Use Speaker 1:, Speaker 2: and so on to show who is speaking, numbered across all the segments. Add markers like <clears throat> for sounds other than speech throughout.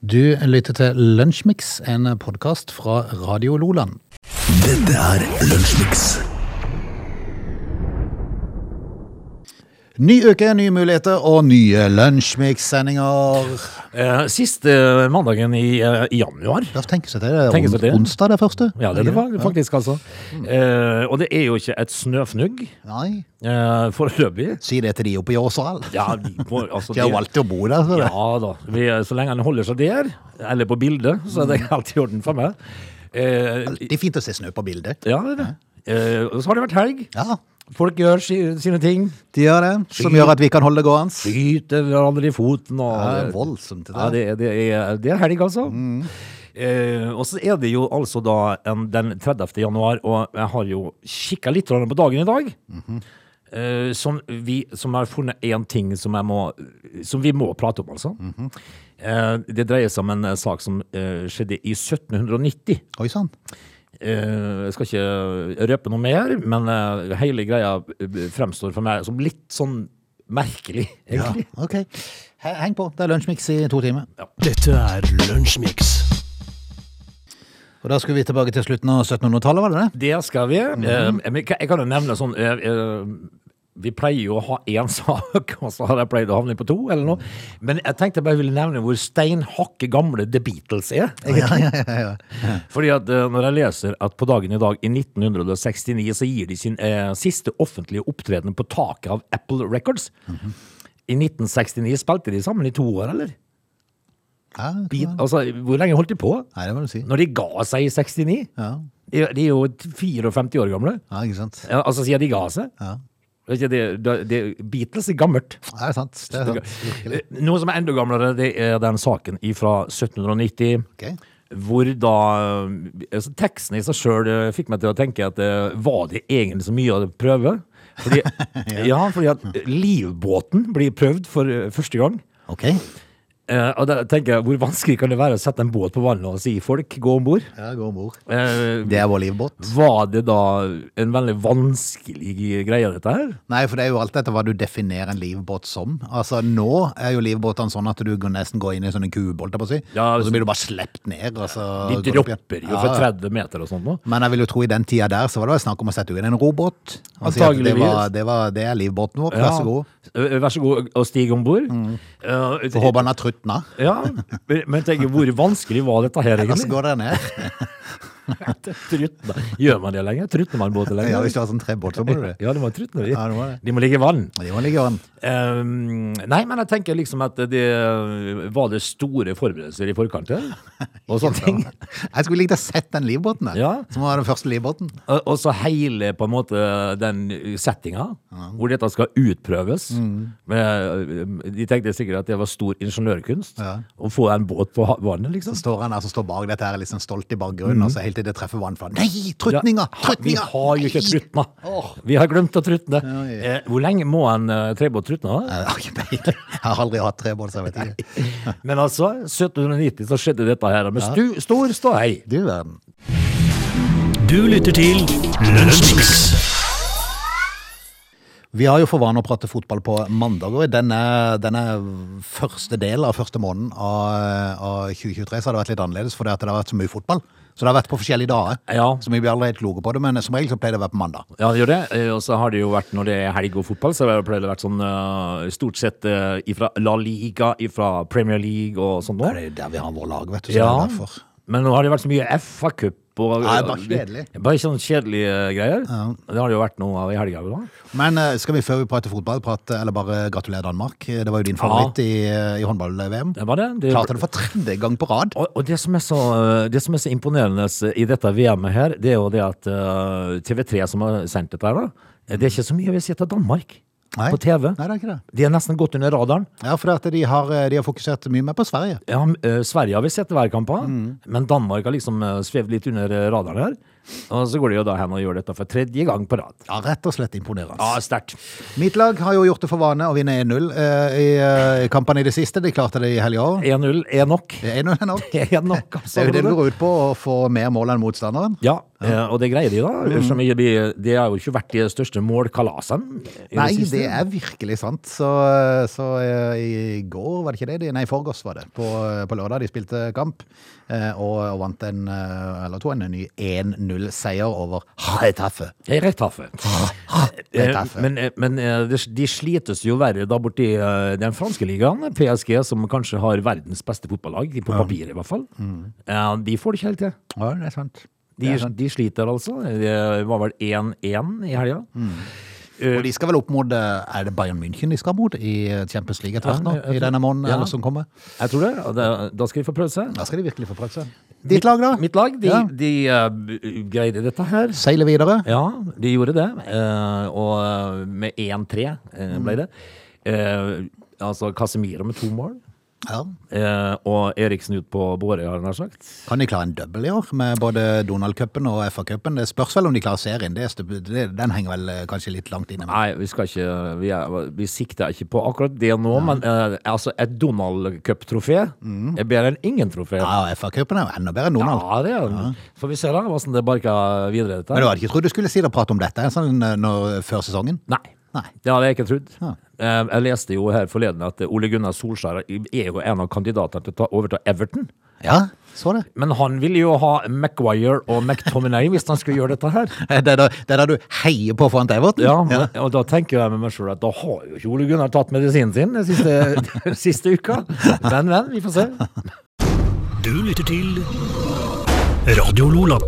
Speaker 1: Du lytter til Lunsjmix, en podkast fra Radio Loland.
Speaker 2: Dette er Lunsjmix.
Speaker 1: Ny uke, nye muligheter og nye Lunsjmix-sendinger.
Speaker 3: Eh, Sist eh, mandagen i, eh, i januar.
Speaker 1: Ja, tenk seg det. Det er
Speaker 3: Tenk
Speaker 1: on
Speaker 3: seg det.
Speaker 1: onsdag, det første.
Speaker 3: Ja, det, det var faktisk, altså.
Speaker 1: Mm.
Speaker 3: Eh, og det er jo ikke et snøfnugg
Speaker 1: Nei,
Speaker 3: eh, foreløpig.
Speaker 1: si det til de oppe i Åsal.
Speaker 3: Ja, de må- altså,
Speaker 1: De har valgt å bo der, så det.
Speaker 3: Ja da. Vi, eh, så lenge han holder seg der, eller på bildet, så
Speaker 1: Mm.
Speaker 3: er det alt i orden for meg. Eh,
Speaker 1: Det er fint å se snø på bildet.
Speaker 3: ja, det er det. Eh, og så har det vært helg.
Speaker 1: Ja,
Speaker 3: Folk gjør si, sine ting.
Speaker 1: de gjør det. Som gjør at vi kan holde det gående.
Speaker 3: Skyter hverandre i foten og
Speaker 1: Ja, det er voldsomt, det der. Mm.
Speaker 3: Ja, det, er- det, er, det er helg, altså. Eh, og så er det jo altså da en, den 30. januar, og jeg har jo kikka litt grann på dagen i dag.
Speaker 1: Mhm.
Speaker 3: eh, som, vi, som har funnet én ting som, jeg må, som vi må prate om, altså.
Speaker 1: Mhm.
Speaker 3: eh, det dreier seg om en eh, sak som eh, skjedde i 1790.
Speaker 1: Oi sånn. sann.
Speaker 3: Eh, jeg skal ikke røpe noe mer, men eh, hele greia eh, fremstår for meg som litt sånn merkelig,
Speaker 1: Ja,
Speaker 3: egentlig.
Speaker 1: OK. He- Heng på. Det er Lunsjmix i to timer.
Speaker 2: Dette er Lunsjmix.
Speaker 1: Og Da skulle vi tilbake til slutten av 1700-tallet, var det det?
Speaker 3: Det skal vi. Eh, men Jeg kan jo nevne sånn eh, eh, Vi pleier jo å ha én <laughs> sak, og så har jeg pleid å havne på to, eller noe. Men jeg tenkte jeg bare ville nevne hvor steinhakke gamle The Beatles er.
Speaker 1: <laughs> Ja, ja, ja, ja.
Speaker 3: Fordi at eh, når jeg leser at på dagen i dag, i 1969, så gir de sin eh, siste offentlige opptreden på taket av Apple Records. I 1969 spilte de sammen i to år, eller?
Speaker 1: ja det kan
Speaker 3: Beat,
Speaker 1: være.
Speaker 3: altså, hvor lenge holdt de på?
Speaker 1: Nei, det må du si.
Speaker 3: Når de ga seg i 69?
Speaker 1: Ja,
Speaker 3: De, de er jo 54 år gamle.
Speaker 1: ja ikke sant.
Speaker 3: Ja, altså sier de ga seg.
Speaker 1: Ja.
Speaker 3: Vet ikke, Det, det, det, Beatles er gammelt.
Speaker 1: Ja, det er sant. Det er sant. <laughs> Virkelig.
Speaker 3: Eh, Noe som er enda gamlere, det er den saken fra 1790.
Speaker 1: Ok.
Speaker 3: Hvor da eh, altså, Teksten i seg sjøl fikk meg til å tenke at eh, var det egentlig så mye å prøve? Fordi, <laughs> ja. fordi at livbåten blir prøvd for eh, første gang.
Speaker 1: Ok.
Speaker 3: Eh, og da tenker jeg, Hvor vanskelig kan det være å sette en båt på vannet og si folk, gå om bord?
Speaker 1: Ja, gå om bord.
Speaker 3: Eh,
Speaker 1: Det er vår livbåt.
Speaker 3: var det da en veldig vanskelig greie, dette her?
Speaker 1: Nei, for det er jo alt etter hva du definerer en livbåt som. Altså, nå er jo livbåtene sånn at du går- nesten går inn i sånne kubolter, på å si.
Speaker 3: Ja,
Speaker 1: og så blir du bare slept ned, og så...
Speaker 3: De
Speaker 1: går du opp igjen.
Speaker 3: dropper jo fra
Speaker 1: Ja, ja.
Speaker 3: 30 meter og sånt nå.
Speaker 1: Men jeg vil jo tro i den tida der, så var det jo snakk om å sette ut en robåt. Og si at det, var,
Speaker 3: Antageligvis.
Speaker 1: det, var, det er livbåten vår, vær så god. Mm.
Speaker 3: Ja. Eh, Vær så god og stig om bord. Eh,
Speaker 1: Får håpe han har truttna.
Speaker 3: ja, men- men tenk, hvor vanskelig var dette her,
Speaker 1: Ellers
Speaker 3: egentlig?
Speaker 1: Altså, går det ned.
Speaker 3: <laughs> Trutne. Gjør man det lenger? Trutner man båter
Speaker 1: Ja, hvis
Speaker 3: lenger?
Speaker 1: du har sånn trebåt, så må du det.
Speaker 3: <laughs> Ja, det må trutne.
Speaker 1: Ja, det må det.
Speaker 3: De må ligge i vann.
Speaker 1: Men det må ligge an.
Speaker 3: Eh, nei, men jeg tenker liksom at det var det store forberedelser i forkant
Speaker 1: <laughs>
Speaker 3: her, og sånne ting.
Speaker 1: Jeg skulle likt å sett den livbåten der.
Speaker 3: Ja.
Speaker 1: Som var den første livbåten.
Speaker 3: Og og så hele på en måte den settinga, hvor dette skal utprøves.
Speaker 1: Mm.
Speaker 3: Men, eh, De tenkte sikkert at det var stor ingeniørkunst
Speaker 1: Ja.
Speaker 3: å få en båt på ha- vannet,
Speaker 1: Så
Speaker 3: liksom.
Speaker 1: står han der som står bak dette her, liksom stolt i bakgrunnen, og så helt til det treffer vannflaten. Nei, trutninga!
Speaker 3: Mhm. Ja, Vi
Speaker 1: Trutninga!
Speaker 3: har jo ikke
Speaker 1: Nei!
Speaker 3: trutna.
Speaker 1: Åh.
Speaker 3: Vi har glemt å trutne.
Speaker 1: Ja, ja.
Speaker 3: Eh, Hvor lenge må en eh, trebåt trutne? da?
Speaker 1: Jeg har ikke peiling. Jeg har aldri hatt trebål, så jeg vet ikke.
Speaker 3: Men altså, 1790 så skjedde dette her, med stu, stor ståhei.
Speaker 1: Du verden.
Speaker 2: Du lytter til Lunsjmix.
Speaker 1: Vi har jo for vane å prate fotball på mandager. I denne, denne første delen av første måneden av, av 2023 så har det vært litt annerledes, fordi at det har vært så mye fotball. Så det har vært på forskjellige dager.
Speaker 3: Ja.
Speaker 1: Så vi blir aldri helt kloke på det, men som regel så pleier det å være på mandag.
Speaker 3: Ja, det gjør det. Eh, Og så har det jo vært, når det er helg og fotball, så har det pleier det vært sånn eh, stort sett eh, ifra La Liga, ifra Premier League og sånn
Speaker 1: Det
Speaker 3: noe.
Speaker 1: er jo der vi har vår lag, vet du. Så
Speaker 3: Ja,
Speaker 1: det er derfor.
Speaker 3: men nå har det vært så mye FA-cup og
Speaker 1: Nei, bare kjedelig.
Speaker 3: Bare sånne kjedelige eh, greier. Det har det jo vært noe av i helga. vel da?
Speaker 1: Men eh, skal vi før vi prater fotball, prate, eller bare gratulere Danmark? Det var jo din favoritt i, i håndball-VM.
Speaker 3: Det var det. det
Speaker 1: Klarte det for tredje gang på rad.
Speaker 3: Og, og det, som er så, eh, det som er så imponerende i dette VM-et her, det er jo det at eh, TV3 som har sendt dette her, da, eh, det er ikke så mye vi ser til Danmark
Speaker 1: Nei.
Speaker 3: på TV.
Speaker 1: Nei, det er ikke det.
Speaker 3: De er nesten gått under radaren.
Speaker 1: Ja, for det at de, har, eh, de har fokusert mye mer på Sverige. Mm.
Speaker 3: Ja, m- eh, Sverige har vi sett hver kamp av, men Danmark har liksom eh, svevd litt under eh, radaren her. Og så går de jo da hen og gjør dette for tredje gang på rad.
Speaker 1: Ja, Rett og slett imponerende.
Speaker 3: Ja, sterkt.
Speaker 1: Mitt lag har jo gjort det for vane å vinne 1-0 eh, i eh, kampene i det siste. De klarte det i helga òg.
Speaker 3: 1-0 er nok. <laughs>
Speaker 1: Det er 1-0 nok.
Speaker 3: Det er nok,
Speaker 1: Det
Speaker 3: altså.
Speaker 1: er jo det det går ut på, å få mer mål enn motstanderen.
Speaker 3: Ja, eh, og det greier de, da.
Speaker 1: Mm.
Speaker 3: Som ikke blir- det har jo ikke vært de største målkalasene. i
Speaker 1: Nei,
Speaker 3: siste.
Speaker 1: det er virkelig sant. Så, så eh, i går, var det ikke det? De- Nei, i forgårs var det. På, på lørdag. De spilte kamp eh, og, og vant en eh, eller to, en ny 1-0-seier over Haetaffe.
Speaker 3: Jeg er rett
Speaker 1: <laughs>
Speaker 3: haffe.
Speaker 1: Rett
Speaker 3: Eh,
Speaker 1: haffe.
Speaker 3: Men, eh, men eh, det- de slites jo verre da borti eh, den franske ligaen, PSG, som kanskje har verdens beste fotballag, på papiret i hvert fall. Eh, De får det ikke helt til.
Speaker 1: Ja, Mm. det er sant.
Speaker 3: De, de sliter altså. Det var vel 1-1 i helga.
Speaker 1: Mm. Og de skal vel opp mot eh, Er det Bayern München de skal mot i Champions League etter hvert? nå,
Speaker 3: Ja,
Speaker 1: I
Speaker 3: jeg tror-
Speaker 1: denne måneden
Speaker 3: ja.
Speaker 1: eller som kommer?
Speaker 3: Jeg tror det. og Da, da skal de få prøvd seg.
Speaker 1: Da skal de virkelig få prøvd seg. Ditt lag, da?
Speaker 3: Mitt lag, de,
Speaker 1: Ja.
Speaker 3: de eh, b- greide dette her.
Speaker 1: Seiler videre.
Speaker 3: Ja, de gjorde det. eh, og eh, med 1-3 eh,
Speaker 1: Mm.
Speaker 3: ble det. Eh, altså Casemiro med to mål.
Speaker 1: Ja.
Speaker 3: eh, og Eriksen ut på båre, har jeg nær sagt.
Speaker 1: Kan de klare en double i år, med både Donald-cupen og FA-cupen? Det spørs vel om de klarer serien. Det, er stu- det, den henger vel eh, kanskje litt langt inne.
Speaker 3: Nei, vi skal ikke Vi, er, vi sikter ikke på akkurat det nå, men eh, altså, et Donald Cup-trofé er bedre enn ingen trofé.
Speaker 1: Ja, og FA-cupen er jo enda bedre enn Mm. Donald.
Speaker 3: Ja, det er Får vi se da hvordan det barker videre. dette
Speaker 1: Men du hadde ikke trodd du skulle si det og prate om dette sånn, eh, når, før sesongen?
Speaker 3: Nei.
Speaker 1: Nei.
Speaker 3: Det hadde jeg ikke trodd.
Speaker 1: Ja.
Speaker 3: Eh, Jeg leste jo her forleden at Ole Gunnar Solskjær er jo en av kandidatene til å ta, overta Everton.
Speaker 1: Ja, så det.
Speaker 3: Men han ville jo ha Maguire og McTominay hvis han skulle gjøre dette her.
Speaker 1: Eh, Det er da, det er da du heier på foran Everton? <laughs>
Speaker 3: Ja, Og da tenker jeg med meg sjøl at da har jo ikke Ole Gunnar tatt medisinen sin den siste, <laughs> den siste uka. Men, men, vi får se.
Speaker 2: Du lytter til Radio Lola.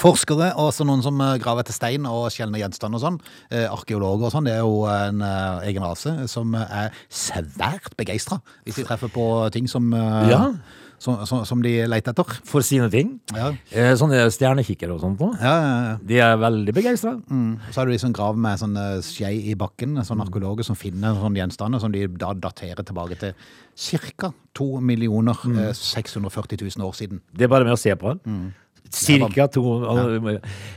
Speaker 1: Forskere og også noen som eh, graver etter stein og sjeldne gjenstander og sånn, eh, arkeologer og sånn, det er jo en eh, egen rase som eh, er svært begeistra hvis de treffer på ting som, eh,
Speaker 3: Ja.
Speaker 1: som, som, som de leter etter.
Speaker 3: For sine ting.
Speaker 1: Ja.
Speaker 3: Eh, Sånne stjernekikkere og sånt. da.
Speaker 1: Ja, Mm. ja, ja.
Speaker 3: De er veldig begeistra.
Speaker 1: Så har du de som graver med sånn eh, skje i bakken, sånn arkeologer som finner sånne gjenstander som de da daterer tilbake til ca. 2 millioner eh, 640 000 år siden.
Speaker 3: Det er bare med å se på.
Speaker 1: Mm.
Speaker 3: Cirka to
Speaker 1: Og,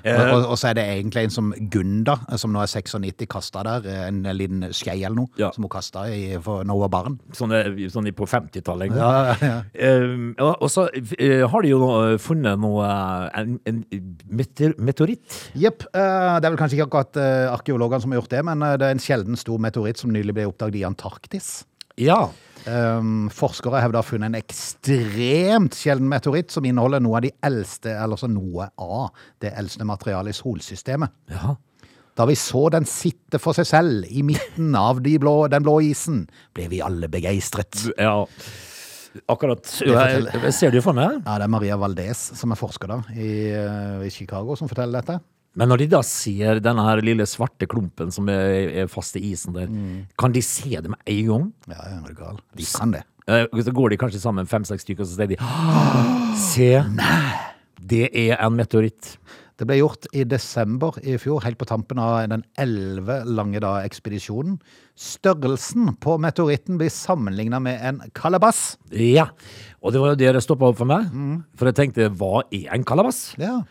Speaker 3: eh,
Speaker 1: og, og så er det egentlig en som Gunda, eh, som nå er 96, kasta der. eh, En liten skei eller noe,
Speaker 3: Ja.
Speaker 1: som hun kasta da hun var barn.
Speaker 3: Sånne, sånne på 50-tallet. en gang.
Speaker 1: Ja, ja,
Speaker 3: Eh, og og så eh, har de jo nå, eh, funnet noe eh, en, en meteor, meteoritt.
Speaker 1: Jepp. eh, det er vel kanskje ikke akkurat eh, arkeologene som har gjort det, men eh, det er en sjelden stor meteoritt som nylig ble oppdaget i Antarktis.
Speaker 3: Ja.
Speaker 1: Um, forskere har da funnet en ekstremt sjelden meteoritt som inneholder noe av de eldste, eller altså noe av det eldste materialet i solsystemet. Da vi så den sitte for seg selv i midten av de blå, den blå isen, ble vi alle begeistret.
Speaker 3: ja. Akkurat. Jeg,
Speaker 1: forteller-
Speaker 3: jeg ser det jo for meg.
Speaker 1: Ja, det er Maria Valdez som er forsker da, i, eh, i Chicago som forteller dette.
Speaker 3: Men når de da ser denne her lille svarte klumpen som er, er fast i isen der, kan de se det med en gang?
Speaker 1: Ja, ja, er du gal? De kan det.
Speaker 3: Eh, Så går de kanskje sammen fem-seks stykker, og så sier de Se! Det er en meteoritt.
Speaker 1: Det ble gjort i desember i fjor, helt på tampen av den 11 lange da, ekspedisjonen. Størrelsen på meteoritten blir sammenlignet med en kalabass.
Speaker 3: Ja. Og det var jo det det stoppa opp for meg. For jeg tenkte, hva er en kalabass?
Speaker 1: Ja.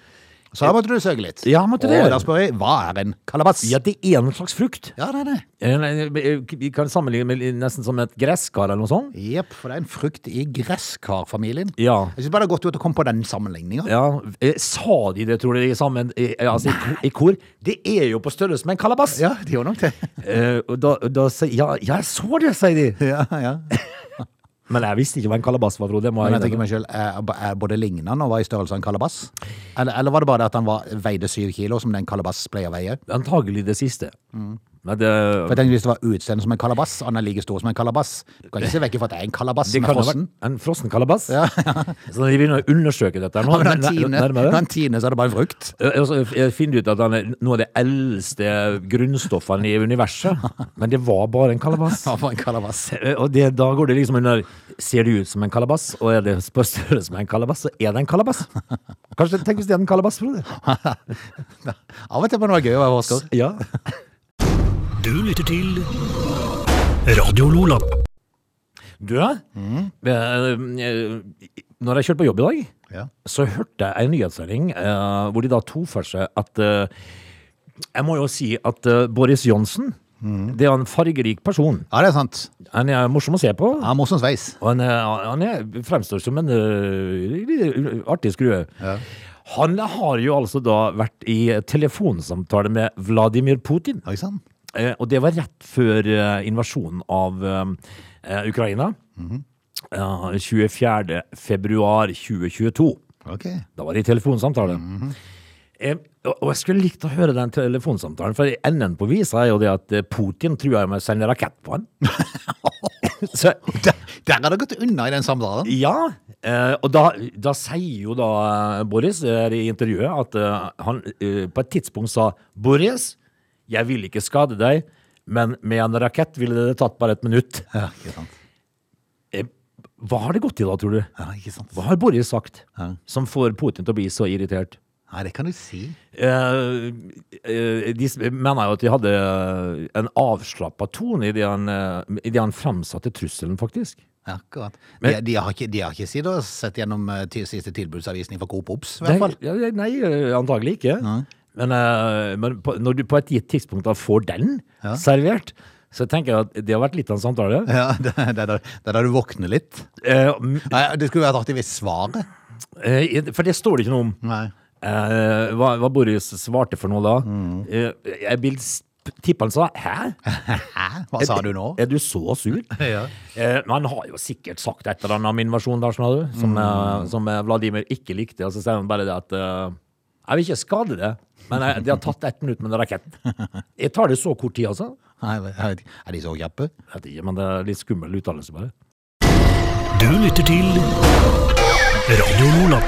Speaker 1: Så da måtte du søke litt.
Speaker 3: Ja, måtte det.
Speaker 1: Og da spør jeg, hva er en kalabass?
Speaker 3: Ja, det er en slags frukt.
Speaker 1: Ja, det er det.
Speaker 3: Eh, nei, Vi kan sammenligne med nesten som et gresskar eller noe sånt.
Speaker 1: Jepp, for det er en frukt i gresskarfamilien.
Speaker 3: Ja.
Speaker 1: Jeg synes bare det er godt gjort å komme på den sammenligningen.
Speaker 3: Ja, eh, Sa de det, tror du, i, sammen, i, eh, altså, i, ko- i kor? Det er jo på størrelse med en kalabass!
Speaker 1: Ja, de gjør
Speaker 3: <laughs>
Speaker 1: nok det.
Speaker 3: Eh, og da, og da sier ja, jeg så det, sier de!
Speaker 1: Ja, ja.
Speaker 3: Men jeg visste ikke hva en kalabass var, Frode. det må
Speaker 1: Men jeg
Speaker 3: jeg
Speaker 1: tenker meg selv, er, er både lignende og var i størrelse av en kalabass? Eller, eller var det bare det at han var, veide syv kilo, som den kalabass pleier å veie?
Speaker 3: innrømme. Antagelig det siste.
Speaker 1: Mm.
Speaker 3: Men det,
Speaker 1: For jeg tenkte Hvis det var utseende som en kalabass, og han er like stor som en kalabass Du kan ikke se vekk fra at det er en kalabass
Speaker 3: det
Speaker 1: som
Speaker 3: kan
Speaker 1: er
Speaker 3: ha
Speaker 1: frossen.
Speaker 3: vært en frossen kalabass. <laughs> Så de begynner å undersøke dette. Nå,
Speaker 1: Og når han
Speaker 3: nær-
Speaker 1: tiner,
Speaker 3: nærmere.
Speaker 1: når han tiner, så er det bare en frukt.
Speaker 3: Eh, Og så jeg finner ut at han er noe av det eldste grunnstoffene i universet. Men det var bare
Speaker 1: <laughs>
Speaker 3: en kalabass.
Speaker 1: Han var en kalabass.
Speaker 3: Eh, Og det, da går det liksom under Ser det ut som en kalabass? Og er det på størrelse med en kalabass, så er det en
Speaker 1: <laughs>
Speaker 3: kalabass. Kanskje Tenk hvis det er en kalabass, Frode.
Speaker 1: Av og til må det være gøy å være forsker.
Speaker 3: Ja.
Speaker 2: Du lytter til Radio Lola.
Speaker 3: Du, eh, eh, når jeg kjørte på jobb i dag,
Speaker 1: Ja.
Speaker 3: så hørte jeg en nyhetssending eh, hvor de da tok for seg at eh, Jeg må jo si at eh, Boris Johnsen det er en fargerik person.
Speaker 1: ja, det er sant.
Speaker 3: Han er morsom å se på.
Speaker 1: Ja, morsom sveis.
Speaker 3: Og han, er, han er, fremstår som en eh, artig skrue. Han har jo altså da vært i telefonsamtale med Vladimir Putin.
Speaker 1: Oi sann.
Speaker 3: Eh, og det var rett før eh, invasjonen av eh, Ukraina. Eh, 24. februar 2022.
Speaker 1: Ok.
Speaker 3: Da var det i telefonsamtale. Eh, og- og jeg skulle likt å høre den telefonsamtalen, for enden på visa er jo det at eh, Putin truer med å sende rakett på han. Så,
Speaker 1: Der, der har det gått unna i den samtalen.
Speaker 3: ja, eh, og da, da sier jo da eh, Boris eh, i intervjuet at eh, han eh, på et tidspunkt sa Boris, jeg vil ikke skade deg, men med en rakett ville det tatt bare et minutt.
Speaker 1: Ja, ikke sant.
Speaker 3: Eh, Hva har det gått i da, tror du?
Speaker 1: Ja, ikke sant.
Speaker 3: Hva har Boris sagt
Speaker 1: Ja.
Speaker 3: som får Putin til å bli så irritert?
Speaker 1: Nei, det kan du si.
Speaker 3: Eh, eh, de s- mener jo at de hadde eh, en avslappa tone i det han, eh, i det han framsatte trusselen, faktisk.
Speaker 1: Akkurat.
Speaker 3: Men-
Speaker 1: de, de har ikke, de har ikke sittet og sett gjennom eh, til, siste tilbudsavisning for Coop Obs, i
Speaker 3: Nei,
Speaker 1: hvert fall.
Speaker 3: ja, ja, nei eh, antagelig ikke. Men, eh, men på, når du på et gitt tidspunkt da får den servert, så tenker jeg at det har vært litt av en samtale.
Speaker 1: Ja, <laughs> det det er da det er da du våkner litt.
Speaker 3: Eh, m-
Speaker 1: Nei, det skulle vært artig hvis svaret
Speaker 3: eh, for det står det ikke noe om.
Speaker 1: Nei.
Speaker 3: Eh, hva, hva Boris svarte for noe da?
Speaker 1: Mm.
Speaker 3: Eh, jeg vil s- tippe han sa 'hæ'?
Speaker 1: Hæ? Hva sa du nå?
Speaker 3: Er du så sur?
Speaker 1: <laughs> Ja.
Speaker 3: Eh, men han har jo sikkert sagt et eller annet om invasjonen, der, skjønner du, som, eh, som eh, Vladimir ikke likte. Og så sier han bare det at eh, Jeg vil ikke skade det, men jeg, det har tatt ett minutt med den raketten. Jeg tar det så kort tid, altså.
Speaker 1: Nei, jeg vet ikke. Er de så kjappe?
Speaker 3: Jeg vet ikke, men det er litt skummel uttalelse, bare.
Speaker 2: Du lytter til Radio Lola.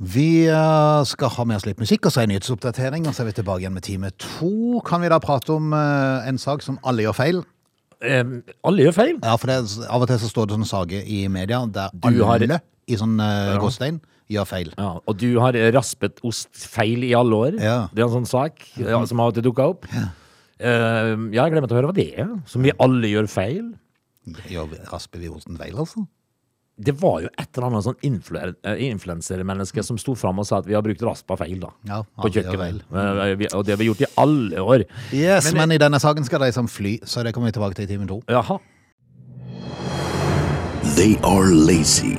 Speaker 1: Vi eh, skal ha med oss litt musikk og så en nyhetsoppdatering. Og så er vi tilbake igjen med time to. Kan vi da prate om eh, en sak som alle gjør feil?
Speaker 3: Eh, alle gjør feil.
Speaker 1: Ja, for det, er- Av og til så står det sånne saker i media der
Speaker 3: Du har-
Speaker 1: alle i sånn uh, gåstein gjør feil.
Speaker 3: Ja, og du har raspet ost feil i alle år.
Speaker 1: Ja.
Speaker 3: Det er en sånn sak ja, som har dukka opp. Ja. ja, jeg glemte å høre hva det er. Som vi alle gjør feil.
Speaker 1: Gjør rasper vi osten feil, altså?
Speaker 3: Det var jo et eller annet sånn influ- eh, influensermenneske som sto fram og sa at vi har brukt raspa feil, da.
Speaker 1: Ja,
Speaker 3: på
Speaker 1: alle gjør
Speaker 3: kjøkkenet. Eh, vi- Og det har vi gjort i alle år.
Speaker 1: Yes, men, i denne saken skal de som fly, så det kommer vi tilbake til i time to.
Speaker 3: Jaha.
Speaker 4: They are lazy.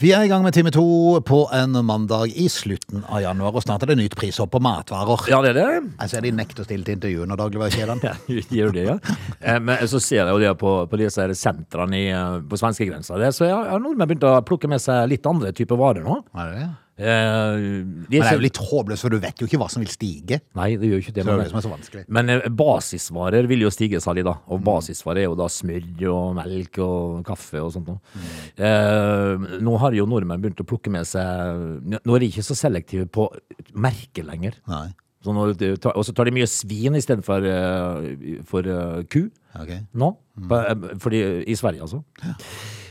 Speaker 1: Vi er i gang med time to på en mandag i slutten av januar, og snart er det nytt prishopp på matvarer. Altså,
Speaker 3: Ja, det er det.
Speaker 1: Jeg ser de nekter å stille til intervju når dagligvarekjedene.
Speaker 3: Ja, <laughs> Gjør det, ja. Eh, Men så ser jeg jo det på, på disse her sentrene i, eh, på svenskegrensa. der, Så jeg jeg har nordmenn begynt å plukke med seg litt andre typer varer nå.
Speaker 1: Er det det?
Speaker 3: Eh, de
Speaker 1: Men det er
Speaker 3: ikke-
Speaker 1: jo litt håpløst, for du vet jo ikke hva som vil stige.
Speaker 3: Nei, det gjør jo ikke det.
Speaker 1: Så det er
Speaker 3: men-
Speaker 1: det som er så vanskelig.
Speaker 3: Men eh, basisvarer vil jo stige, sa de da. Og basisvarer er jo da smør og melk og kaffe og sånt noe.
Speaker 1: Mm.
Speaker 3: Eh, nå har jo nordmenn begynt å plukke med seg Nå er de ikke så selektive på merket lenger.
Speaker 1: Nei.
Speaker 3: Så nå, det tar- og så tar de mye svin istedenfor uh, for eh, ku
Speaker 1: Ok.
Speaker 3: nå. På- eh, Fordi, I Sverige, altså. Eh,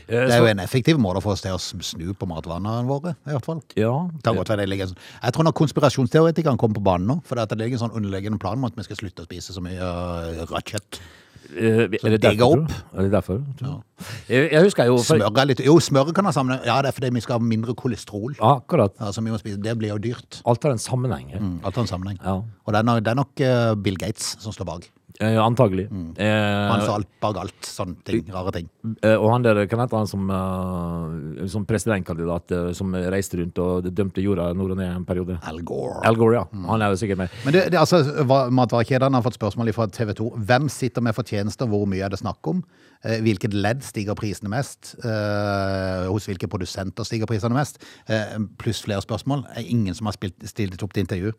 Speaker 1: Mm. Det er
Speaker 3: så-
Speaker 1: jo en effektiv måte å få oss til å snu på matvanene våre, i hvert fall.
Speaker 3: ja,
Speaker 1: Det kan godt være det ligger en sånn. Jeg tror nok konspirasjonsteoretikerne kommer på banen nå, for det ligger en sånn underliggende plan om at vi skal slutte å spise så mye øh, rødt kjøtt.
Speaker 3: eh, er det
Speaker 1: digger
Speaker 3: derfor, tror
Speaker 1: opp.
Speaker 3: du? Er det derfor? tror du? Eh, Jeg husker jo for-
Speaker 1: Smør er litt Jo, smør kan ha sammenheng. Ja, det er fordi vi skal ha mindre kolesterol.
Speaker 3: Akkurat.
Speaker 1: Altså, vi må spise. Det blir jo dyrt. Mm,
Speaker 3: Alt har en sammenheng her.
Speaker 1: Alt har en sammenheng.
Speaker 3: Ja.
Speaker 1: Og det er nok, det er nok øh, Bill Gates som står bak.
Speaker 3: Eh, antagelig.
Speaker 1: Han
Speaker 3: Eh,
Speaker 1: sa alt bak alt. Sånne ting. Rare ting.
Speaker 3: Eh, Og han der, kan hete han som, eh, som presidentkandidat eh, som reiste rundt og dømte jorda nord og ned en periode?
Speaker 1: Al Gore.
Speaker 3: Al Gore, ja.
Speaker 1: Mm.
Speaker 3: Han er jo sikkert med.
Speaker 1: Men det, det, altså, hva- matvarekjedene har fått spørsmål fra TV 2. Hvem sitter med fortjenester, hvor mye er det snakk om? Eh, Hvilket ledd stiger prisene mest? Eh, hos hvilke produsenter stiger prisene mest? Eh, pluss flere spørsmål. Eh, Ingen som har spilt, stilt opp til intervju.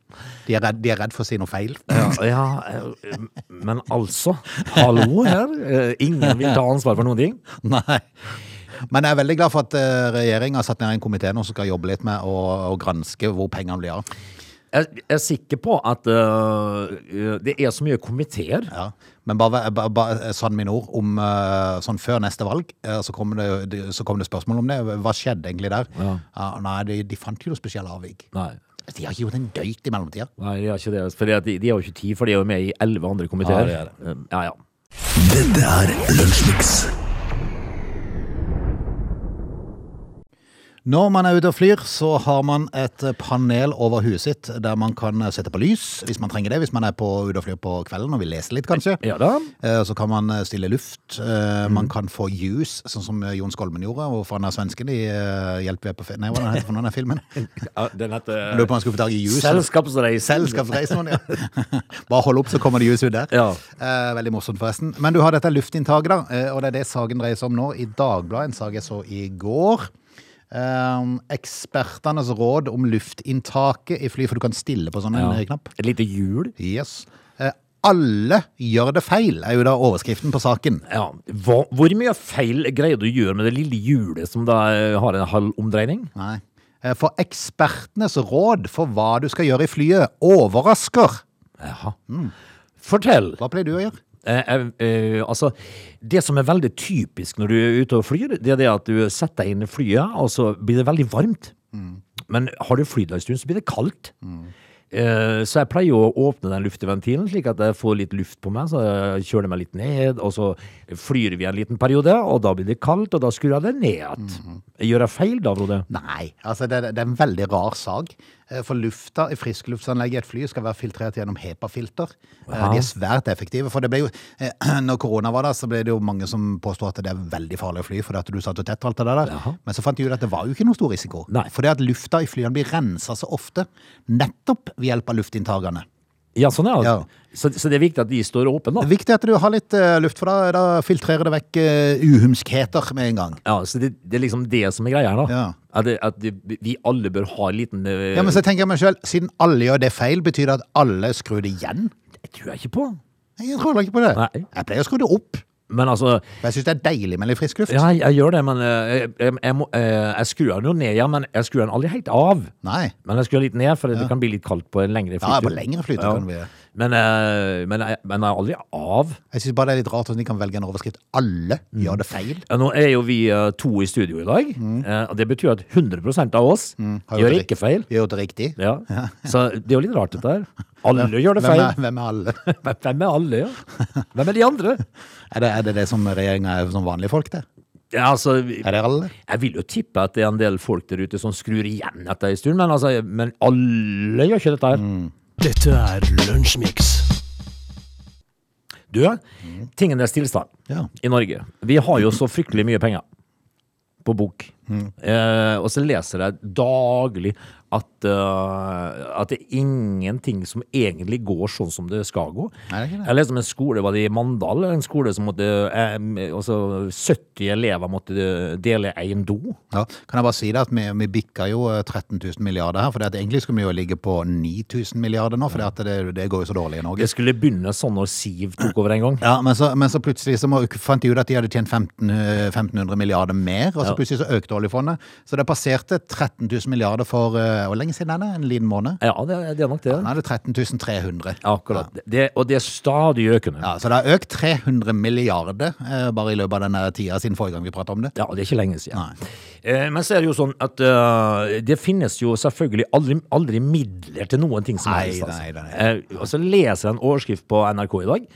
Speaker 1: De er, redd, de er redd for å si noe feil. <laughs>
Speaker 3: Ja, ja, eh, men altså, hallo her. eh, Ingen vil ta ansvar for noen ting.
Speaker 1: Nei. Men jeg er veldig glad for at regjeringa har satt ned en komité nå som skal jobbe litt med å, å granske hvor pengene blir av.
Speaker 3: Jeg er sikker på at øh, det er så mye komiteer.
Speaker 1: Ja. Men bare, bare, bare sann sånn mine ord, om eh, sånn før neste valg, eh, så kom, det, det- så kom det spørsmål om det. Hva skjedde egentlig der? Ja. nei, de, de fant ikke noe spesielle avvik.
Speaker 3: Nei.
Speaker 1: De har ikke gjort en døyt i mellomtida.
Speaker 3: Nei, de har ikke det. For de, de har jo ikke tid, for de er jo med i elleve andre komiteer.
Speaker 1: Ja, det
Speaker 3: Um, ja, ja.
Speaker 4: Dette er Lunsjmix.
Speaker 1: Når man er ute og flyr, så har man et panel over huet sitt der man kan sette på lys, hvis man trenger det. Hvis man er på, ute og flyr på kvelden og vil lese litt, kanskje.
Speaker 3: Ja Mm. da.
Speaker 1: Eh, Så kan man stille luft. Eh, Man kan få ljus, sånn som Jon Skolmen gjorde. Og for han er svensken i eh, Hjelp vi er på fe... Nei, hva den heter for noen av filmen? Jeg
Speaker 3: <laughs> ja den heter
Speaker 1: Lurer på om han skulle få tak i ljus.
Speaker 3: Selskapsreise.
Speaker 1: Selskapsreisen, ja. Bare hold opp, så kommer det ljus ut der.
Speaker 3: Ja.
Speaker 1: Eh, veldig morsomt, forresten. Men du har dette luftinntaket, da. eh, Og det er det saken dreier seg om nå. I Dagbladet, en sak jeg så i går. Um, ekspertenes råd om luftinntaket i fly, for du kan stille på sånn en eh, knapp.
Speaker 3: Et lite hjul.
Speaker 1: Yes. Eh, alle gjør det feil, er jo da overskriften på saken.
Speaker 3: Ja. Hva, hvor mye feil greier du å gjøre med det lille hjulet som da eh, har en halv omdreining?
Speaker 1: Nei. Eh, For ekspertenes råd for hva du skal gjøre i flyet, overrasker.
Speaker 3: Jaha.
Speaker 1: Mm.
Speaker 3: Fortell.
Speaker 1: Hva pleier du å gjøre?
Speaker 3: Eh, eh, eh, altså, det som er veldig typisk når du er ute og flyr, det er det at du setter deg inn i flyet, og så blir det veldig varmt.
Speaker 1: Mm.
Speaker 3: Men har du flydd en stund, så blir det kaldt. Eh, så jeg pleier å åpne den lufteventilen, slik at jeg får litt luft på meg. Så jeg kjøler meg litt ned, og så flyr vi en liten periode, og da blir det kaldt, og da skrur jeg det ned igjen.
Speaker 1: Mm.
Speaker 3: Gjør jeg feil da, Frode?
Speaker 1: Nei, altså det, det er en veldig rar sag. Eh, For lufta i friskluftanlegget i et fly skal være filtrert gjennom HEPA-filter. Eh,
Speaker 3: Ja.
Speaker 1: De er svært effektive. For det ble jo, eh, <clears throat> når korona var der, så ble det jo mange som påstod at det er veldig farlig å fly fordi at du satt jo tett og alt det der.
Speaker 3: Jaha.
Speaker 1: Men så fant de ut at det var jo ikke noe stor risiko.
Speaker 3: Nei.
Speaker 1: Fordi at lufta i flyene blir rensa så ofte nettopp ved hjelp av luftinntakerne.
Speaker 3: Ja, sånn er det.
Speaker 1: Ja.
Speaker 3: Så, så det er viktig at de står åpne, da.
Speaker 1: Det er viktig at du har litt eh, luft, for da, da filtrerer det vekk eh, uhumskheter med en gang.
Speaker 3: Ja, så det, det er liksom det som er greia her, da.
Speaker 1: Ja.
Speaker 3: At, det, at det, vi alle bør ha en liten eh,
Speaker 1: Ja, men så tenker jeg meg selv, siden alle gjør det feil, betyr det at alle skrur det igjen?
Speaker 3: Det tror jeg ikke på.
Speaker 1: Nei, Jeg tror heller ikke på det.
Speaker 3: Nei.
Speaker 1: Jeg pleier å skru det opp.
Speaker 3: Men altså
Speaker 1: For jeg syns det er deilig med litt frisk luft.
Speaker 3: Ja, jeg, jeg gjør det, men eh, jeg, jeg, jeg, må, eh, jeg skrur den jo ned, ja, men jeg skrur den aldri helt av.
Speaker 1: Nei.
Speaker 3: Men jeg skrur litt ned, for det kan bli litt kaldt på en lengre flytur.
Speaker 1: Ja, på lengre flytur kan det bli det.
Speaker 3: Men, eh, men, jeg, men jeg er aldri av.
Speaker 1: Jeg syns bare det er litt rart at de kan velge en overskrift. Alle gjør det feil.
Speaker 3: Ja, Nå er jo vi eh, to i studio i dag, eh, og det betyr at 100 av oss
Speaker 1: Mm. Har gjort
Speaker 3: gjør
Speaker 1: det
Speaker 3: ikke
Speaker 1: ri-
Speaker 3: feil.
Speaker 1: Gjør det riktig.
Speaker 3: Ja. Så det er jo litt rart,
Speaker 1: <laughs>
Speaker 3: dette her. Alle gjør det
Speaker 1: Hvem
Speaker 3: feil.
Speaker 1: er, hvem er alle?
Speaker 3: <laughs> Hvem er alle,
Speaker 1: <laughs>
Speaker 3: ja? Hvem er de andre?
Speaker 1: Er det, er det det som regjeringa er som vanlige folk, det?
Speaker 3: Ja, altså, vi-
Speaker 1: Er det alle?
Speaker 3: jeg vil jo tippe at det er en del folk der ute som skrur igjen etter en stund, men, altså, men alle gjør ikke dette her.
Speaker 1: Mm.
Speaker 2: Dette er Lunsjmix.
Speaker 3: Du, tingenes tilstand
Speaker 1: Ja.
Speaker 3: i Norge. Vi har jo så fryktelig mye penger på bok.
Speaker 1: Mm.
Speaker 3: Eh, og så leser jeg daglig at, eh, at det er ingenting som egentlig går sånn som det skal gå.
Speaker 1: Nei, det er ikke det.
Speaker 3: Jeg leste om en skole var det i Mandal, en skole som måtte eh, altså 70 elever måtte dele en do.
Speaker 1: Ja. Kan jeg bare si det at vi, vi bikka jo eh, 13 000 milliarder her. For det at egentlig skulle vi jo ligge på 9000 milliarder nå, for det, at det, det går jo så dårlig i Norge.
Speaker 3: Det skulle begynne sånn når Siv tok over en gang.
Speaker 1: Ja, men så, men så plutselig så må, fant de ut at de hadde tjent 15, eh, 1500 milliarder mer, og så plutselig så økte oljefondet. Så det passerte 13 000 milliarder for eh, Hvor lenge siden er det? En liten måned?
Speaker 3: Ja, det, det er nok det.
Speaker 1: Nå er det 13 300.
Speaker 3: Akkurat. Det, og det er stadig økende. Ja.
Speaker 1: Ja, så det har økt 300 milliarder eh, bare i løpet av denne tida siden forrige gang vi prata om det.
Speaker 3: og det er ikke lenge siden.
Speaker 1: Nei.
Speaker 3: Eh, men så er det jo sånn at eh, det finnes jo selvfølgelig aldri, aldri midler til noen ting som
Speaker 1: Nei,
Speaker 3: helst.
Speaker 1: nei, nei,
Speaker 3: Eh, og så leser jeg en overskrift på NRK i dag.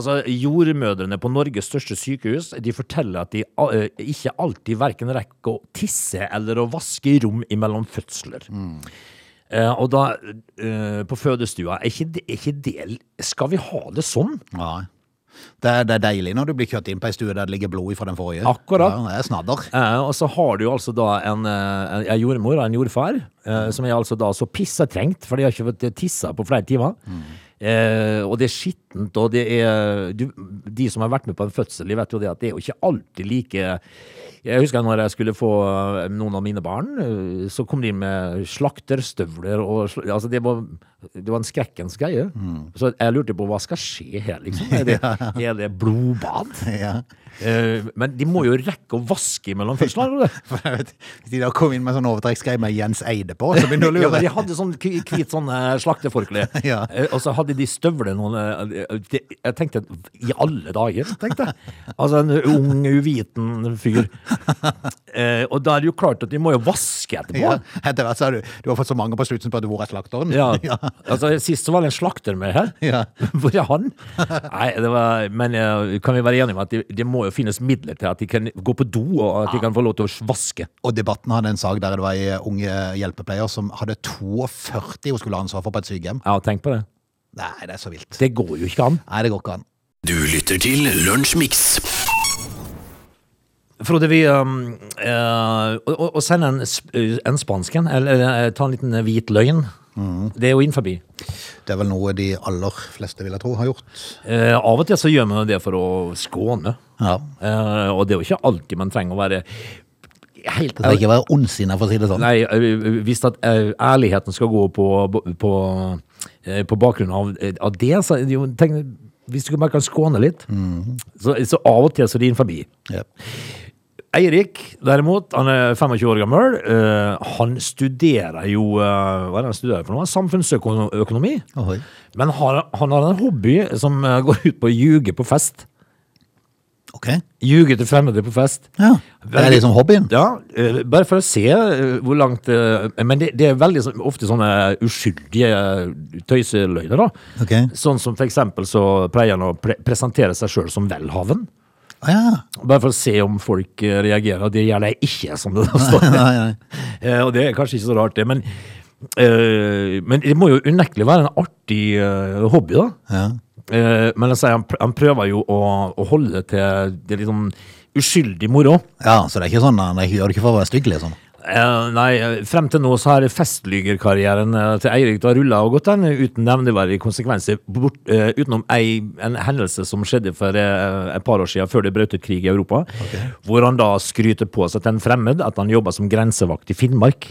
Speaker 3: Altså, Jordmødrene på Norges største sykehus de forteller at de eh, ikke alltid verken rekker å tisse eller å vaske rom imellom fødsler.
Speaker 1: Mm.
Speaker 3: Eh, og da, eh, på fødestua, er ikke, det, er ikke det Skal vi ha det sånn?
Speaker 1: Ja. Det, er- det er deilig når du blir kjørt inn på ei stue der det ligger blod fra den forrige.
Speaker 3: Akkurat.
Speaker 1: Ja, det er snadder. <laughs>
Speaker 3: Eh, og så har du jo altså da en, eh, en- en jordmor og en jordfar, eh, som er altså da så pissetrengt, for de har ikke fått tissa på flere timer. Eh, og det er skittent, og det er du, De som har vært med på en fødsel, de vet jo det at det er jo ikke alltid like Jeg husker når jeg skulle få eh, noen av mine barn, eh, så kom de med slakterstøvler og sl Altså, det var, det var en skrekkens greie. Så jeg lurte på hva skal skje her, liksom? Er det, er det blodbad?
Speaker 1: Ja.
Speaker 3: Eh, men de må jo rekke å vaske mellom fødslene. eller?
Speaker 1: For jeg vet, Hvis de da kom inn med sånn overtrekksgreie med Jens Eide på, så begynner
Speaker 3: <laughs>
Speaker 1: du å
Speaker 3: Ja, men
Speaker 1: lure.
Speaker 3: de hadde sånn k- hvit sånn eh, <laughs> slakteforkle.
Speaker 1: Ja.
Speaker 3: Eh, Og så hadde de støvler noen eh, eh, det- Jeg tenkte I alle dager, <laughs> tenkte jeg. Altså en ung, uviten fyr. Eh, og da er det jo klart at de må jo vaske etterpå.
Speaker 1: Ja.
Speaker 3: Ja.
Speaker 1: Etter hvert så har du, du har fått så mange på slutten på at du hvor er slakteren.
Speaker 3: <laughs>
Speaker 1: <laughs>
Speaker 3: altså Sist så var det en slakter med her.
Speaker 1: Ja.
Speaker 3: <laughs> Hvor er han? Nei, det var, Men eh, kan vi være enige om at det de må jo finnes midler til at de kan gå på do, og at de kan få lov til å vaske?
Speaker 1: Og Debatten hadde en sak der det var ei ung hjelpepleier som hadde 42 hun skulle ha ansvar for på et sykehjem.
Speaker 3: Ja, tenk på det.
Speaker 1: Nei, det er så vilt.
Speaker 3: Det går jo ikke an.
Speaker 1: Nei, det går ikke an.
Speaker 2: Du lytter til Lunsjmix.
Speaker 3: Frode, vi um, eh, å, å- å sende en, sp- eh, en spansk en, eller eh, ta en liten hvit løgn,
Speaker 1: Mm.
Speaker 3: det er jo innenfor.
Speaker 1: Det er vel noe de aller fleste, vil jeg tro, har gjort.
Speaker 3: Uh, av og til så gjør man jo det for å skåne.
Speaker 1: Ja.
Speaker 3: Eh, og det er jo ikke alltid man trenger å være helt
Speaker 1: Det ikke være ondsinna, for å si det sånn.
Speaker 3: Nei, eh, hvis at eh, ærligheten skal gå på, på, eh, på bakgrunn av, av det, så er det jo, tenk, hvis du bare kan skåne litt,
Speaker 1: Mm.
Speaker 3: så, så av og til så er det innenfor.
Speaker 1: Ja.
Speaker 3: Eirik, derimot, han er 25 år gammel. Eh, han studerer jo eh, Hva er det han studerer for noe? Samfunnsøkonomi.
Speaker 1: Ohoi.
Speaker 3: Men har, han har en hobby som eh, går ut på å ljuge på fest.
Speaker 1: Ok.
Speaker 3: Ljuge til fremmede på fest.
Speaker 1: Ja. Det er liksom hobbyen.
Speaker 3: Ja, eh, bare for å se eh, hvor langt eh, Men det, det er veldig sånn- ofte sånne uskyldige eh, tøyseløgner, da.
Speaker 1: Ok.
Speaker 3: Sånn som for eksempel så pleier han å pre presentere seg sjøl som velhaven.
Speaker 1: Å ja.
Speaker 3: Bare for å se om folk eh, reagerer. Det gjelder jeg ikke, som det da står.
Speaker 1: <laughs> Nei, nei.
Speaker 3: <laughs> Eh, og det er kanskje ikke så rart, det. Men, eh, men det må jo unektelig være en artig eh, hobby, da.
Speaker 1: Ja.
Speaker 3: Eh, men altså, han, pr- han prøver jo å, å holde det til det er litt sånn uskyldig moro.
Speaker 1: ja, så det er ikke sånn han gjør det ikke for å være stygg, liksom. <laughs>
Speaker 3: Eh, nei, eh, frem til nå så har festlygerkarrieren eh, til Eirik da rulla og gått, den uten nevneverdige konsekvenser. Bort, eh, utenom ei, en hendelse som skjedde for eh, et par år siden, før det brøt ut krig i Europa. Hvor han da skryter på seg til en fremmed at han jobba som grensevakt i Finnmark.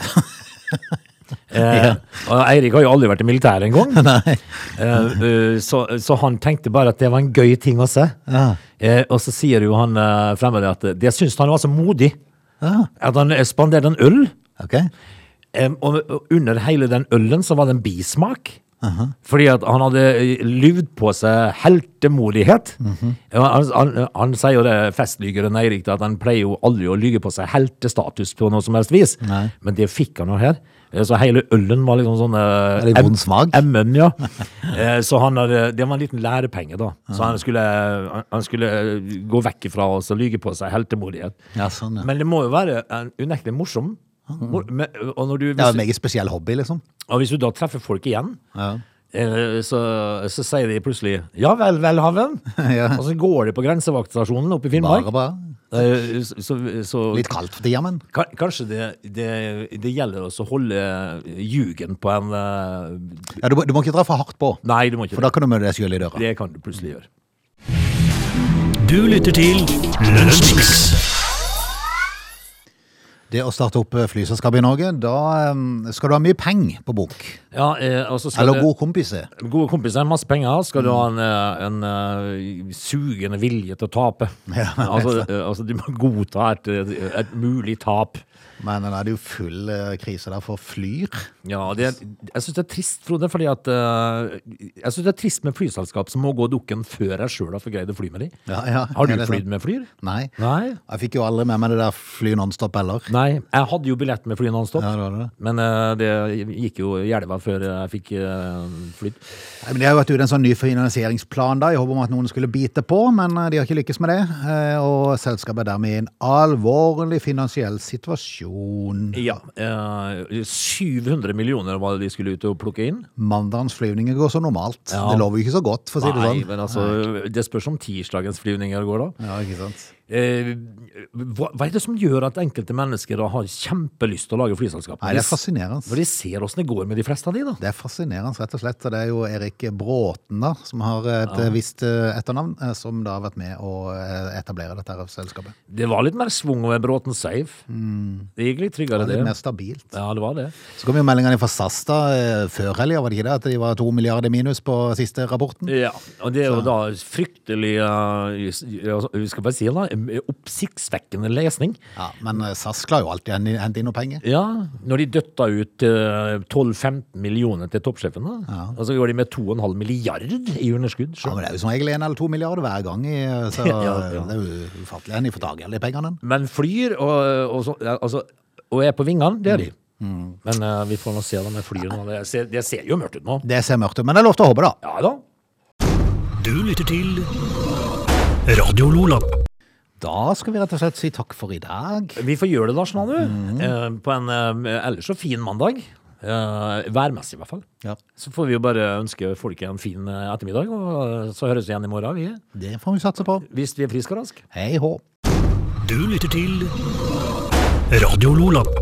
Speaker 3: Eh, og Eirik har jo aldri vært i militæret engang. eh, eh, så, så han tenkte bare at det var en gøy ting å se.
Speaker 1: Ja.
Speaker 3: Eh, og så sier jo han eh, fremmede at det syns han var så modig. At han eh, spanderte en øl.
Speaker 1: Ok.
Speaker 3: Em, og, og under hele den ølen så var det en bismak. Fordi at han hadde eh, lyvd på seg heltemodighet.
Speaker 1: Mhm.
Speaker 3: Ja, han, han, han sier jo det, festlygeren Eirik, da, at han pleier jo aldri å lyge på seg heltestatus på noe som helst vis.
Speaker 1: Nei.
Speaker 3: Men det fikk han jo her. Eh, Så hele ølen var liksom sånn eh,
Speaker 1: Veldig
Speaker 3: em-
Speaker 1: vond smak.
Speaker 3: Emmen, ja. <laughs> Eh, Så han hadde, det var en liten lærepenge, da. Så han skulle, han- han skulle eh, gå vekk ifra oss og lyge på seg heltemodighet.
Speaker 1: Ja, sånn, ja.
Speaker 3: Men det må jo være en unektelig morsom. Mor, men, og når du,
Speaker 1: Det er
Speaker 3: hvis,
Speaker 1: en meget spesiell hobby, liksom.
Speaker 3: og hvis du da treffer folk igjen,
Speaker 1: Ja.
Speaker 3: eh, så, så sier de plutselig 'ja vel, <laughs> velhaven',
Speaker 1: Ja.
Speaker 3: og så går de på grensevaktstasjonen oppe
Speaker 1: Bare
Speaker 3: i Finnmark.
Speaker 1: bra.
Speaker 3: Eh, så, så, så
Speaker 1: Litt kaldt for tida, men.
Speaker 3: ka- kanskje det, det, det gjelder også å holde ljugen på en eh,
Speaker 1: Ja, du, må- du må ikke dra for hardt på,
Speaker 3: Nei, du må ikke
Speaker 1: for da kan du møte deg sjøl i døra.
Speaker 3: det. Det kan du plutselig gjøre.
Speaker 2: Du lytter til Lunsjmix.
Speaker 1: Det å starte opp eh, flyselskap i Norge, da eh, skal du ha mye penger på bok.
Speaker 3: Ja, eh, og så skal
Speaker 1: Eller
Speaker 3: det-
Speaker 1: gode kompiser.
Speaker 3: Gode kompiser, masse penger. Skal du ha en, eh, en eh, sugende vilje til å tape? <laughs> altså, eh, altså, du må godta et, eh, et mulig tap.
Speaker 1: Men nå er det jo full eh, krise der for Flyr.
Speaker 3: Ja, og det, jeg syns det er trist, Frode, fordi at eh, Jeg synes det er trist med flyselskap som må gå dukken før jeg sjøl har forgreid å fly med dem.
Speaker 1: Ja, ja.
Speaker 3: Har du
Speaker 1: Ja, det er sant.
Speaker 3: flydd med Flyr?
Speaker 1: Nei.
Speaker 3: Nei.
Speaker 1: Jeg fikk jo aldri med meg det der fly nonstop heller.
Speaker 3: Nei, jeg hadde jo billett med fly nonstop,
Speaker 1: Ja, det var det.
Speaker 3: men eh, det gikk jo i elva før jeg fikk eh, flydd.
Speaker 1: Nei, men Det har jo vært ute en sånn ny finansieringsplan da, i håp om at noen skulle bite på, men eh, de har ikke lykkes med det. Eh, Og selskapet er dermed i en alvorlig finansiell situasjon.
Speaker 3: Ja. eh, 700 millioner var det de skulle ut og plukke inn.
Speaker 1: Mandagens flyvninger går som normalt.
Speaker 3: Ja.
Speaker 1: Det lover jo ikke så godt, for å si det
Speaker 3: Nei,
Speaker 1: sånn.
Speaker 3: men altså, det spørs om tirsdagens flyvninger går da.
Speaker 1: Ja, ikke sant?
Speaker 3: eh, hva, hva er det som gjør at enkelte mennesker da har kjempelyst til å lage flyselskap?
Speaker 1: Nei, det er fascinerende.
Speaker 3: Når de ser åssen det går med de fleste av de, da.
Speaker 1: Det er fascinerende, rett og slett. Og det er jo Erik Bråten, da, som har et visst eh, etternavn, eh, som da har vært med å eh, etablere dette her selskapet.
Speaker 3: Det var litt mer svung over Bråten Safe. Det gikk litt tryggere, det.
Speaker 1: Mm. Litt mer stabilt.
Speaker 3: Ja, det var det.
Speaker 1: Så kom jo meldingene fra SAS da, eh, før helga, var det ikke det? At de var to milliarder minus på siste rapporten?
Speaker 3: Ja, og det er jo da fryktelig uh, Skal bare si det, da. Oppsiktsvekkende lesning.
Speaker 1: Ja, Men eh, SAS klarer jo alltid å hen- hente inn noe penger.
Speaker 3: Ja, når de døtta ut eh, 12-15 millioner til toppsjefen, da. Og så går de med 2,5 milliard i underskudd.
Speaker 1: Ja,
Speaker 3: Så.
Speaker 1: men Det er jo som regel en eller to milliarder hver gang, i, eh, så
Speaker 3: <laughs> Ja, ja.
Speaker 1: det er jo ufattelig. En får tak i alle de pengene.
Speaker 3: Men flyr og, og, så, ja, altså, og er på vingene, det er de. Men eh, vi får nå se om jeg flyr nå. Det ser, det ser jo mørkt ut nå.
Speaker 1: Det ser mørkt ut, men det er lov til å håpe, da.
Speaker 3: Ja da.
Speaker 2: Du lytter til Radio Lola.
Speaker 1: Da skal vi rett og slett si takk for i dag.
Speaker 3: Vi får gjøre det, Lars Nanu. eh, på en eh, ellers så fin mandag. Eh, værmessig, i hvert fall.
Speaker 1: Ja.
Speaker 3: Så får vi jo bare ønske folket en fin eh, ettermiddag, og eh, så høres vi igjen i morgen. Vi,
Speaker 1: Det får vi satse på.
Speaker 3: hvis vi er friske og raske.
Speaker 1: Hei hå.
Speaker 2: Du lytter til Radio Lola.